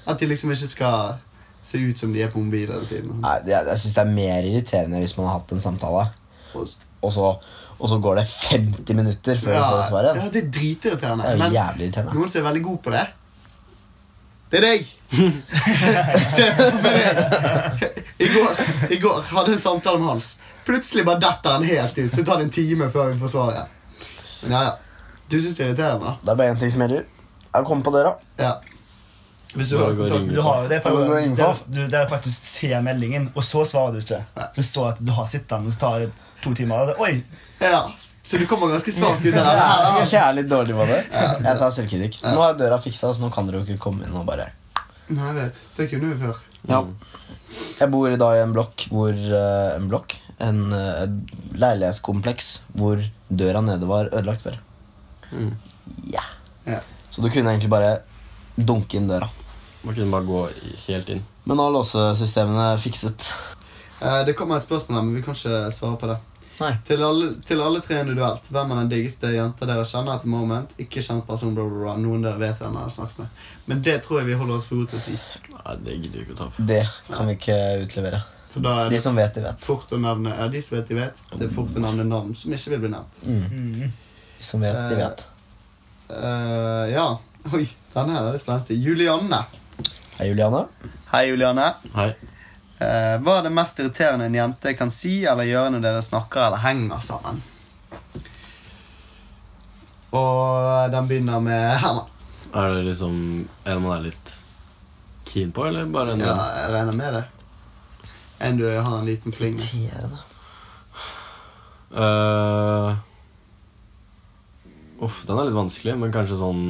At de liksom ikke skal se ut som de er på mobil hele tiden.
Nei, det, Jeg syns det er mer irriterende hvis man har hatt en samtale, og så, og så går det 50 minutter før du får
Ja,
svaret.
ja, det er dritirriterende.
Det er jo
men
jævlig irriterende.
Noen som er veldig god på det. Det er deg! Det- I går, I går hadde jeg en samtale med Hans. Plutselig bare detter han helt ut. Så tar det en time før vi får svaret. Men ja, ja. Du syns det er irriterende, da?
Det er bare én ting som gjelder. Jeg kommer på døra.
Ja. Hvis du
Da
har
går
kontakt
Du har jo det på,
Ja, men gå inn på.
der, du, der du faktisk ser meldingen, og så svarer du ikke. Så står det at du har sittende, så tar det to timer. og det- Oi!
Ja. Så du kommer ganske svakt ut av det. her, da.
Jeg er litt dårlig på det. Jeg tar selvkritikk. Nå er døra fiksa, så nå kan dere jo ikke komme inn og bare
Nei, jeg vet. Det kunne vi før.
Jeg bor i dag i en blokk hvor eh, En blokk? En eh, et leilighetskompleks hvor døra nede var ødelagt før.
Mm.
Ja.
Ja.
Så du kunne egentlig bare dunke inn døra.
Man kunne bare gå i- helt inn.
Men nå er låsesystemene fikset.
Eh, Det kommer et spørsmål her, men vi kan ikke svare på det.
Nei.
Til alle, til alle tre individuelt, hvem er den diggeste jenta dere kjenner at the moment? Ikke kjent person, bla, bla, bla. Noen dere vet hvem jeg har snakket med. Men det tror jeg vi holder oss for gode til å si.
Nei, det gidder vi ikke å ta opp.
Det kan vi ikke utlevere.
For da er
De
det
som vet, de vet.
fort å nevne Ja, de som vet, de vet. Det er fort å nevne navn som ikke vil bli nevnt.
De som vet, de vet.
Eh, ja. Oi, denne her er litt spenstig. Julianne.
Hei, Juliane.
Hei, Julianne.
Hei.
Eh, hva er det mest irriterende en jente kan si eller gjøre når dere snakker eller henger sammen? Og den begynner med Herman.
Er det liksom en man er litt keen på, eller bare en
Ja, jeg regner med det. Enn du har en liten fling med.
Irriterende.
Eh, Uff, den er litt vanskelig, men kanskje sånn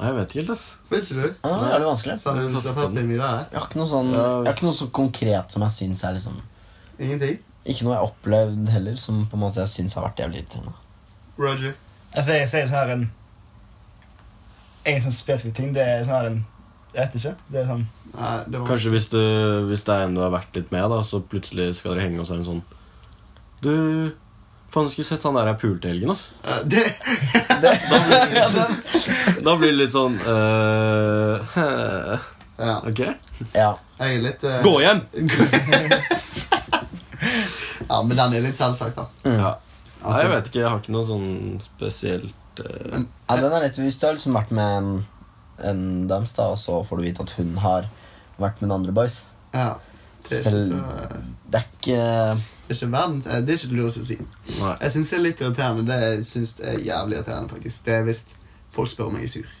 Nei, jeg vet ikke helt, ass.
Vet ikke du?
Ah, er det vanskelig?
Sa du du slapp opp i middag her?
Jeg har ikke noe, sånn,
Ja,
jeg har ikke noe så konkret som jeg syns er liksom
Ingenting?
Ikke noe jeg har opplevd heller som på en måte jeg syns har vært jævlig irriterende.
Roger.
Ja, For jeg sier sånn her en En sånn spesifikk ting. Det er sånn her en Jeg vet ikke. Det er sånn
Nei, det var
Kanskje hvis, du, hvis det er en du har vært litt med, da, så plutselig skal dere henge og så er det en sånn Du Faen, du skulle sett han der jeg pulte i helgen, ass.
Eh, det,
Da blir det litt sånn eh,
ja,
Ok?
Ja,
jeg er litt eh,
Gå hjem!
Ja, men den er litt selvsagt, da.
Ja. Nei,
Altså-
jeg vet ikke. Jeg har ikke noe sånn spesielt eh,
ja den er litt Hvis du har liksom vært med en, en dams, da, og så får du vite at hun har vært med en andre boys
Ja. Det er ikke
Selv-
så eh,
Det er ikke
Det er ikke verden eh, Det er ikke det lureste å si.
Nei.
Jeg syns det er litt irriterende. Det jeg synes det er jævlig irriterende, faktisk. Det er hvis folk spør om jeg er sur.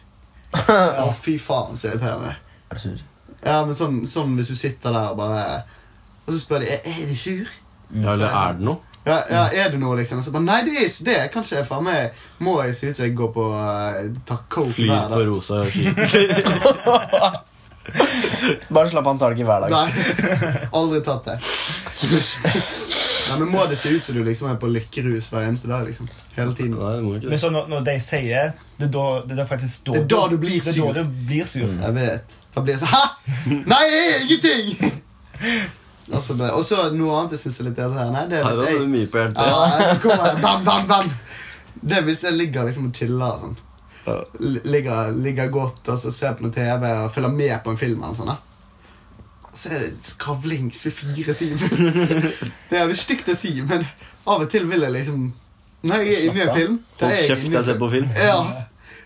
Å, fy faen, så irriterende.
Er du sur?
Ja, men sånn, sånn hvis du sitter der og bare Og så spør de er, er du sur.
Ja, eller er det noe?
Ja, ja, er det noe, liksom? Og så bare, Nei, det er ikke det. Kanskje jeg faen meg må jeg se ut som jeg går på uh, tar coke
Flyr
hver
på
dag.
rosa ski.
Bare slapp av, han tar det ikke hver dag.
Nei, aldri tatt det. Nei, men Må det se ut som du liksom er på lykkerus hver eneste dag? liksom Hele tiden.
Nei, det må ikke det.
Men sånn når, når de sier Det er da det er da faktisk da
Det er da du blir
det er
sur. Mm.
Da du blir sur.
Jeg vet. Da blir jeg sånn Hæ?! Nei, det er ingenting! Altså, det- Og så noe annet jeg syns er litt irriterende. Det er
Nei,
hvis
det
jeg
var mye på hjertet.
Ja, jeg kommer, bam, bam, bam. Det er hvis jeg ligger liksom og chiller og sånn. L- Ligger, ligger godt og så ser på noe TV og følger med på en film. eller sånn da. Og så er det skravling 24-7. Det er litt stygt å si, men av og til vil jeg liksom Når jeg er inne i en film da er
Hold
jeg
kjeft,
inne i en
jeg ser på film.
Ja.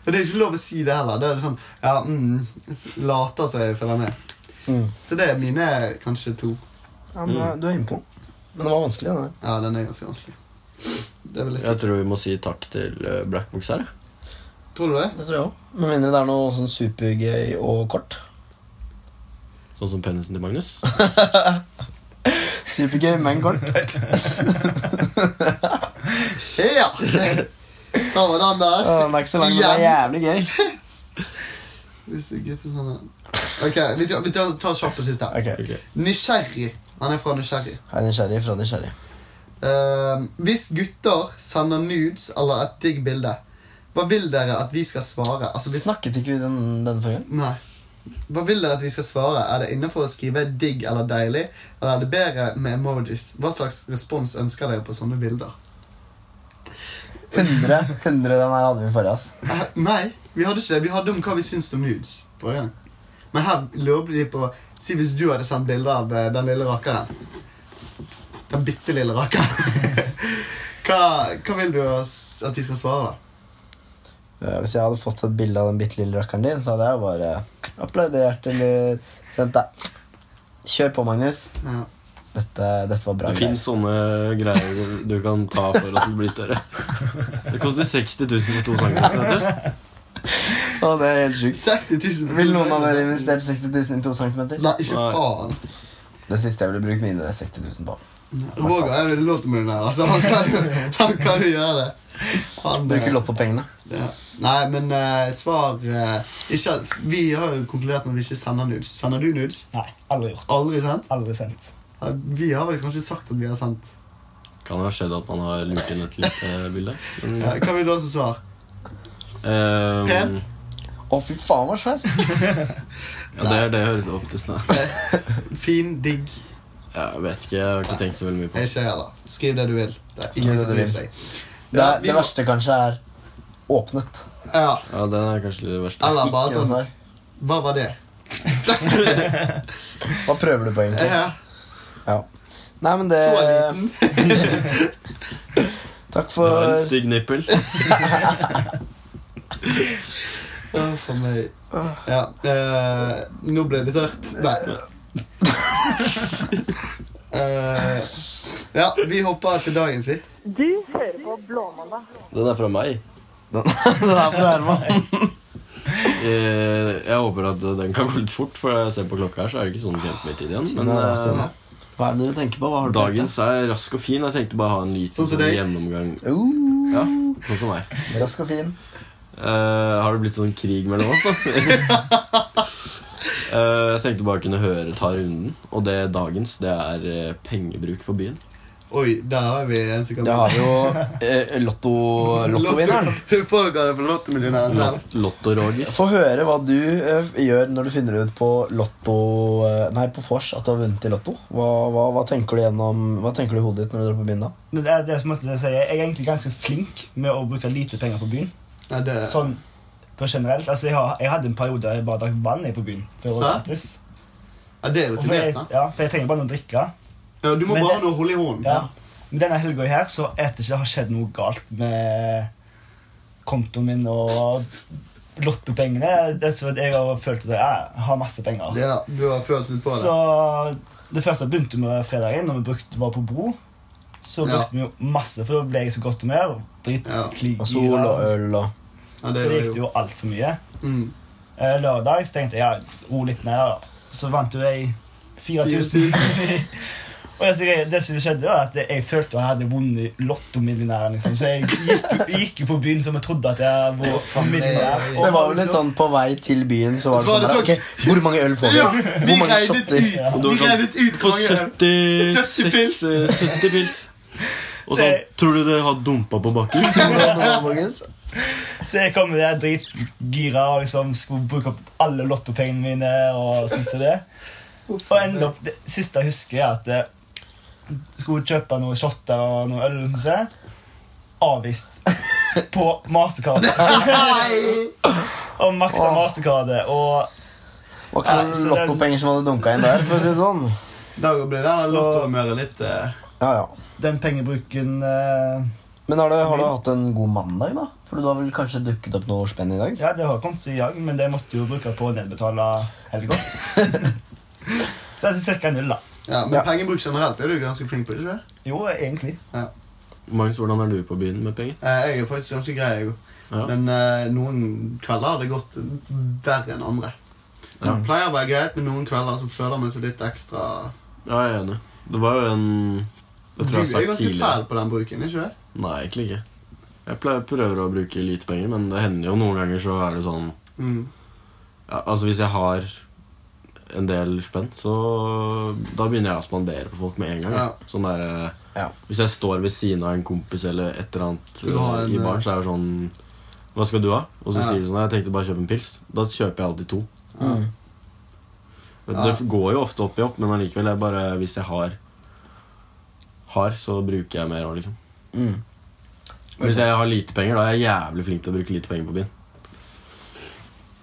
Og det er ikke lov å si det heller. Det er sånn, ja, mm, Later som jeg følger med.
Mm.
Så det er mine kanskje to.
Ja, men eh, Du er inne på Men det var vanskelig, det der.
Ja, den er ganske vanskelig. Det vil jeg si.
Jeg tror vi må si takk til eh, Black Box her. jeg.
Tror du det?
Det tror jeg òg. Med mindre det er noe sånn supergøy og kort.
Sånn som penisen til Magnus.
Supergøy, men kort.
Ja! Da var den der.
Å, Den er ikke så lang, men det er jævlig gøy.
Hvis ikke så sånn her. Ok, vi tar, vi tar, tar kjapt på siste.
Ok,
Ok.
Nysgjerrig. Han er fra Nysgjerrig.
Hei, nysgjerrig fra nysgjerrig.
Eh, hvis gutter sender nudes eller et digg bilde, hva vil dere at vi skal svare? Altså, hvis,
Snakket ikke vi den, den forrige gang?
Nei. Hva vil dere at vi skal svare? Er det innenfor å skrive 'digg' eller 'deilig'? Eller er det bedre med emojis? Hva slags respons ønsker dere på sånne bilder?
100, 100 den her hadde vi forrige, ass.
Eh, nei, vi hadde ikke det. Vi hadde om hva vi syns om nudes. forrige gang. Men her lurer de på Si hvis du hadde sendt bilder av eh, den lille rakeren. Den bitte lille rakeren. hva, hva vil du oss- at vi skal svare, da?
Eh, Hvis jeg hadde fått et bilde av den bitte lille rakkeren din, så hadde jeg bare applaudert eller sendt deg. Kjør på, Magnus.
Ja.
Dette, dette var bra.
Det
greier.
fins sånne greier du kan ta for at den blir større. Det koster 60 000 for to centimeter.
Å, det er helt sjukt.
60 000.
Vil noen av dere investert 60 000 i to centimeter?
Nei, ikke
Nei.
faen.
Det siste jeg ville brukt mine 60 000 på.
Roger er jo lottomillionær, altså. Han kan jo, han kan jo gjøre det. Han,
Bruke
eh,
lottopengene.
ja. Nei, men eh, svar eh, ikke, at- Vi har jo konkludert med at vi ikke sender nudes. Sender du nudes?
Nei, aldri gjort.
Aldri sendt?
Aldri sendt.
Ja, Vi har vel kanskje sagt at vi har sendt.
Kan ha skjedd at man har lurt inn et lite bilde. Men,
Ja, hva vil du også svare?
ehm,
Pen?
Å, fy faen, hva svær!
ja, det er det høres oftest ut.
Fin, digg.
Jeg vet ikke, jeg har ikke tenkt så veldig mye på det.
Ikke jeg heller. Skriv det du vil. Det er
Skriv
ingen
det
som
du
bryr
vil.
seg.
Det,
Ja,
er-
vi
det
må-
verste kanskje er åpnet.
Ja,
Ja, Den er kanskje det verste.
eller bare
Ikke noe
sånn
svar.
Hva var det?
Hva prøver du på, egentlig?
Ja,
Ja. Nei, men det
Eh, så liten.
Takk
Det var en
for
stygg nippel.
Å, for meg. Ja, eh, nå ble det tørt. Nei. Eh, ja, vi hopper til dagens, vi.
Du hører på Blåmandag.
Den er fra meg.
Den er fra Herman.
Eh, Jeg håper at den kan gå litt fort, for jeg ser på klokka her, så er det ikke sånn kjempemye tid igjen. Men
Nei, det er
eh,
stille. Hva er det du tenker på? Hva har du
dagens er rask og fin. Jeg tenkte bare ha en liten
Sånn som
sånn
deg.
gjennomgang.
tenkt? Uh,
Ja, sånn som meg.
Rask og fin.
Eh, har det blitt sånn krig mellom oss, da? Eh, jeg tenkte bare kunne høre ta runden. Og det dagens, det er eh, pengebruk på byen.
Oi, der har vi en som kan
Det har vi jo eh, lotto, lottovinneren.
Lotto- Folk har det for lottomillionæren selv.
Lotto-Roger.
Få høre hva du eh, gjør når du finner ut på lotto eh, Nei, på vors at du har vunnet i lotto. Hva, hva, hva tenker du gjennom Hva tenker du i hodet ditt når du drar på byen da?
Men det er det som måtte jeg si. Jeg er egentlig ganske flink med å bruke lite penger på byen.
Nei, det
Sånn på generelt. Altså, jeg, har, jeg hadde en periode der jeg bare drakk vann jeg på byen. For å
Svært.
gratis.
ja, det er
Og for, jeg,
rutinert, da.
ja, for jeg trenger bare noe å drikke.
Ja, du må
Men
bare
det-
ha noe å holde i hånden.
Ja. Men denne helga her så er det ikke det har skjedd noe galt med kontoen min og lottopengene. Det er så at Jeg har følt at jeg har masse penger.
Ja, du har følt litt på det.
Så det første begynte med fredagen, når vi brukte var på Bro. Så
Ja.
brukte vi jo masse, for da ble jeg i så godt humør. Drit,
Ja.
kli-
Og sol og
gira,
øl og
Ja,
Så
det
så det
var
gikk det
jo.
jo altfor mye.
Mm.
Eh, Lørdag så tenkte jeg ja, ro litt ned. da. Så vant jo jeg 4000. og det som, jeg, det som skjedde, var at jeg følte jeg hadde vunnet Lottomillionæren. Liksom. Så jeg gikk, gikk jo på byen som jeg trodde at jeg var millionær.
Det var vel litt sånn på vei til byen, så var det
Så
sånn,
var det
der,
sånn-
Ok, Hvor mange øl får vi?
Ja, vi
Hvor mange
regnet
shotter?
ut!
Og du
Vi
var sånn,
regnet ut
For
hvor mange øl.
70,
70 pils.
70 pils. Og så
Se.
tror du det har dumpa på bakken?
Så jeg kom med det dritgira og liksom skulle bruke opp alle lottopengene mine. Og sånn som det Og enda opp, det siste jeg husker, er at jeg skulle kjøpe noen shotter og noe øl. Sånn som det. Avvist. på Mastercard.
Nei!
Og maksa Mastercardet. Og
Var ikke noen
Nei, så det-
lottopenger som hadde dunka inn der, for å si det sånn.
Da blir
Så-
den lottohumøret litt eh,
Ja, ja.
den pengebruken eh,
Men har du, har du hatt en god mandag, da? For du har vel kanskje dukket opp noe spenn i dag?
Ja, det har kommet i dag, men det måtte jo bruke på å nedbetale helga. Så jeg sier ca. null, da.
Ja, Men
Ja.
pengebruk generelt er du ganske flink på. ikke det?
Jo, egentlig.
Magnus, hvordan er du på byen med penger?
Eh, Jeg er faktisk ganske grei, jeg òg.
Ja.
Men eh, noen kvelder har det gått verre enn andre. Det
Ja.
pleier å være greit, men noen kvelder så føler man seg litt ekstra
ja, jeg er enig. Det var jo en Det
Du
tror jeg
er
jeg har
ganske
sagt tidligere.
fæl på den bruken, ikke det?
Nei, egentlig ikke. Jeg pleier, prøver å bruke lite penger, men det hender jo noen ganger så er det sånn
Mm.
ja, Altså Hvis jeg har en del spenn, så da begynner jeg å spandere på folk med en gang.
Ja.
Sånn der, eh,
Ja.
Hvis jeg står ved siden av en kompis eller et eller annet
du ha
eh,
en,
i baren, så er det sånn Hva skal du ha? Og så
Ja.
sier du sånn Jeg tenkte bare kjøpe en pils. Da kjøper jeg alltid to.
Mm.
Det går jo ofte opp i opp, men allikevel jeg bare, hvis jeg har, har, så bruker jeg mer òg, liksom.
Mm.
Hvis jeg har lite penger, da er jeg jævlig flink til å bruke lite penger på byen.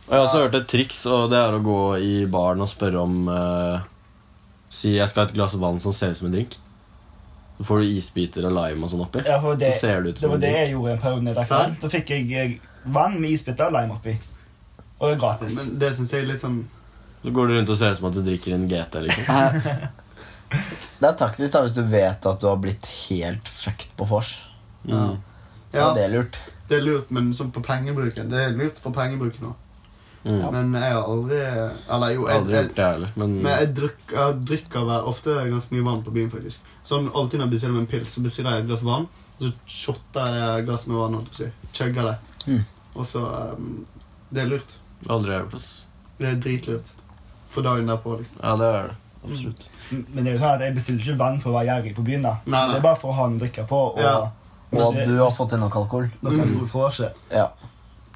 Og Jeg har også hørt et triks, og det er å gå i baren og spørre om eh, Si jeg skal ha et glass vann som ser ut som en drink. Så får du isbiter og lime og sånn oppi.
Ja, for det,
så ser det ut
det
som
var
en
det
drink.
jeg gjorde en periode. nede i
Serr?
Akron. Da fikk jeg eh, vann med isbiter og lime oppi. Og det er gratis.
Men det syns jeg er litt sånn
Så går du rundt og ser ut som at du drikker en GT. liksom
Det er taktisk da hvis du vet at du har blitt helt fucked på vors.
Ja.
Ja.
Ja,
Det er lurt.
det er lurt, men sånn på pengebruken. Det er lurt for pengebruken òg.
Mm.
Men jeg har aldri Eller jo, jeg,
Aldri
jeg,
gjort det, jeg heller. Men
men jeg, druk, jeg drikker vel ofte ganske mye vann på byen, faktisk. Sånn Alltid når jeg bestiller meg en pils, så bestiller jeg et glass vann, og så shotter jeg glasset med vann. holdt jeg på å si. Chugger det.
Mm.
Og så um, Det er lurt.
aldri gjort det. ass.
Det er dritlurt. For dagen derpå, liksom.
Ja, det er det. Absolutt.
Men det er jo sånn at jeg bestiller ikke vann for å være gjerrig på byen. da
Nei, nei.
Det er bare for å ha noe å drikke på. Og
Ja.
Og at du har fått i nok alkohol.
noe alkohol får ikke.
Ja,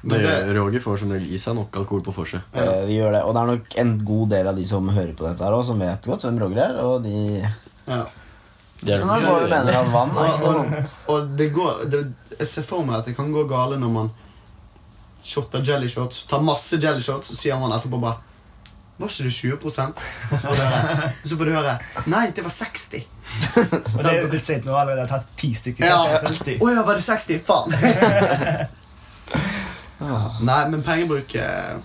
Men
Det
det-
gjør, Roger får som regel i seg nok alkohol på vorset.
Ja.
eh, de gjør det. Og det er nok en god del av de som hører på dette her også, som vet godt hvem Roger er. Og de
Ja.
Det er
skjønner
nok-
hva du mener at vann er ikke
Og,
noe
og, og det går det, Jeg ser for meg at det kan gå gale når man shotter jelly shots, tar masse jelly shots, og sier man etterpå bare Var ikke det 20 Og så får du høre, så får du høre Nei, det var 60.
Og det er jo litt sent nå allerede. Jeg har tatt ti stykker.
Ja.
så det er
Å
alltid-
ja, var det 60? Faen.
Ah.
Nei, men pengebruk er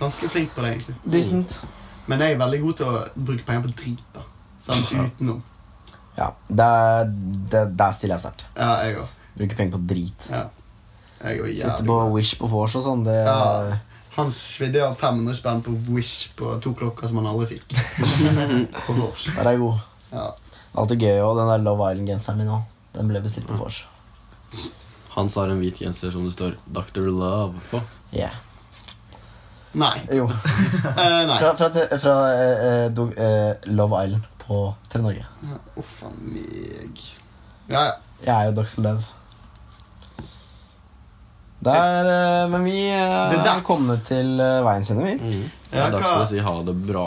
Ganske flink på det, egentlig.
Decent.
Men jeg er veldig god til å bruke penger på drit. da Sånn utenom.
Ja, der, der, der stiller jeg sterkt.
Ja, jeg òg.
Bruker penger på drit.
Ja. Jeg er jo
Sitte
jævlig
på Wish på vors og sånn. Det,
Ja. Han svidde av 500 spenn på Wish på to klokker som han aldri fikk. på vors.
Der er jeg god.
Ja.
Alltid gøy. Og den der Love Island-genseren min òg. Den ble bestilt på vors.
Hans har en hvit genser som det står 'Dr. Love' på.
Yeah.
Nei.
Jo.
Eh, nei.
Fra, fra, te- fra eh, eh, do- eh, Love Island på TV Norge.
Uff a meg. Ja, ja.
Jeg er jo Dr. Love. Der, eh, men vi eh,
Det er dags.
er kommet til eh, veien sine, vi.
Mm.
Det er
Ja,
dags
hva-
for å si ha det bra.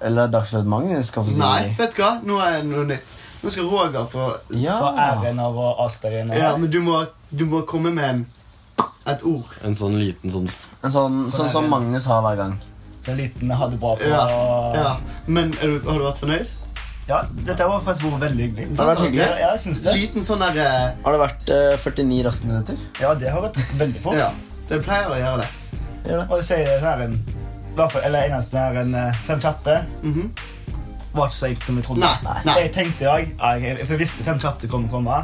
Eller det er dags for at Magnus skal få si
Nei, vet du hva? Nå er det noe nytt. Nå skal Roger få
Ja.
For æren av å avsløre en
Ja, men du må, du må komme med en, et ord.
En sånn liten sånn
En sånn,
Sånn
sånn
er
som
det.
Magnus har hver gang.
Så en sånn liten ha det bra på.
Ja.
Ah.
ja. Men er du, har du vært fornøyd?
Ja, dette var faktisk vært veldig hyggelig.
Det har vært
Ja,
hyggelig.
jeg syns det.
Liten sånn der eh,
Har det vært eh, 49 raske minutter?
Ja, det har gått veldig fort.
Ja. Det pleier å gjøre det.
Gjør det.
Og jeg sier det her en i hvert fall, Eller eneste her en eh, fem kjappe.
Mhm.
Var ikke så enkelt som jeg trodde.
Nei. nei.
Jeg tenkte i dag, ja, jeg, For jeg visste fem kjappe kom komme.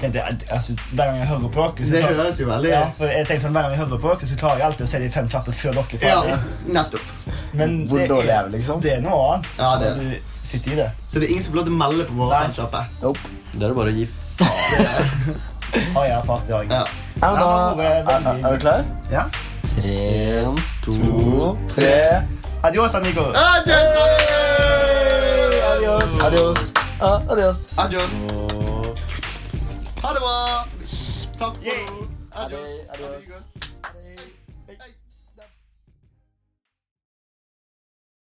Tenkte, jeg, altså, hver gang jeg hører på dere så-
Det høres jo veldig
ja, for jeg tenkte sånn, Hver gang jeg hører på dere, så klarer jeg alltid å si de fem kjappe før dere. er
Ja,
ferdig.
nettopp.
Men
Hvor
det
dårlig
er-
er vi, liksom?
Det er noe annet.
Ja, det er
når Du sitter i det.
Så det er ingen som får lov til å melde på våre
Nei.
fankjappe.
Nope.
Det er det bare å gi faen.
Har jeg erfart i dag.
Ja.
Nei, men da
Ja, det
er,
var veldig-
er, er du klar?
Ja.
Tre, to, tre
Adios, amigos.
Adios, adios, ah, adios.
Adios. Ha det bra. Takk for nå. Adios.
Adi- adios.
amigos.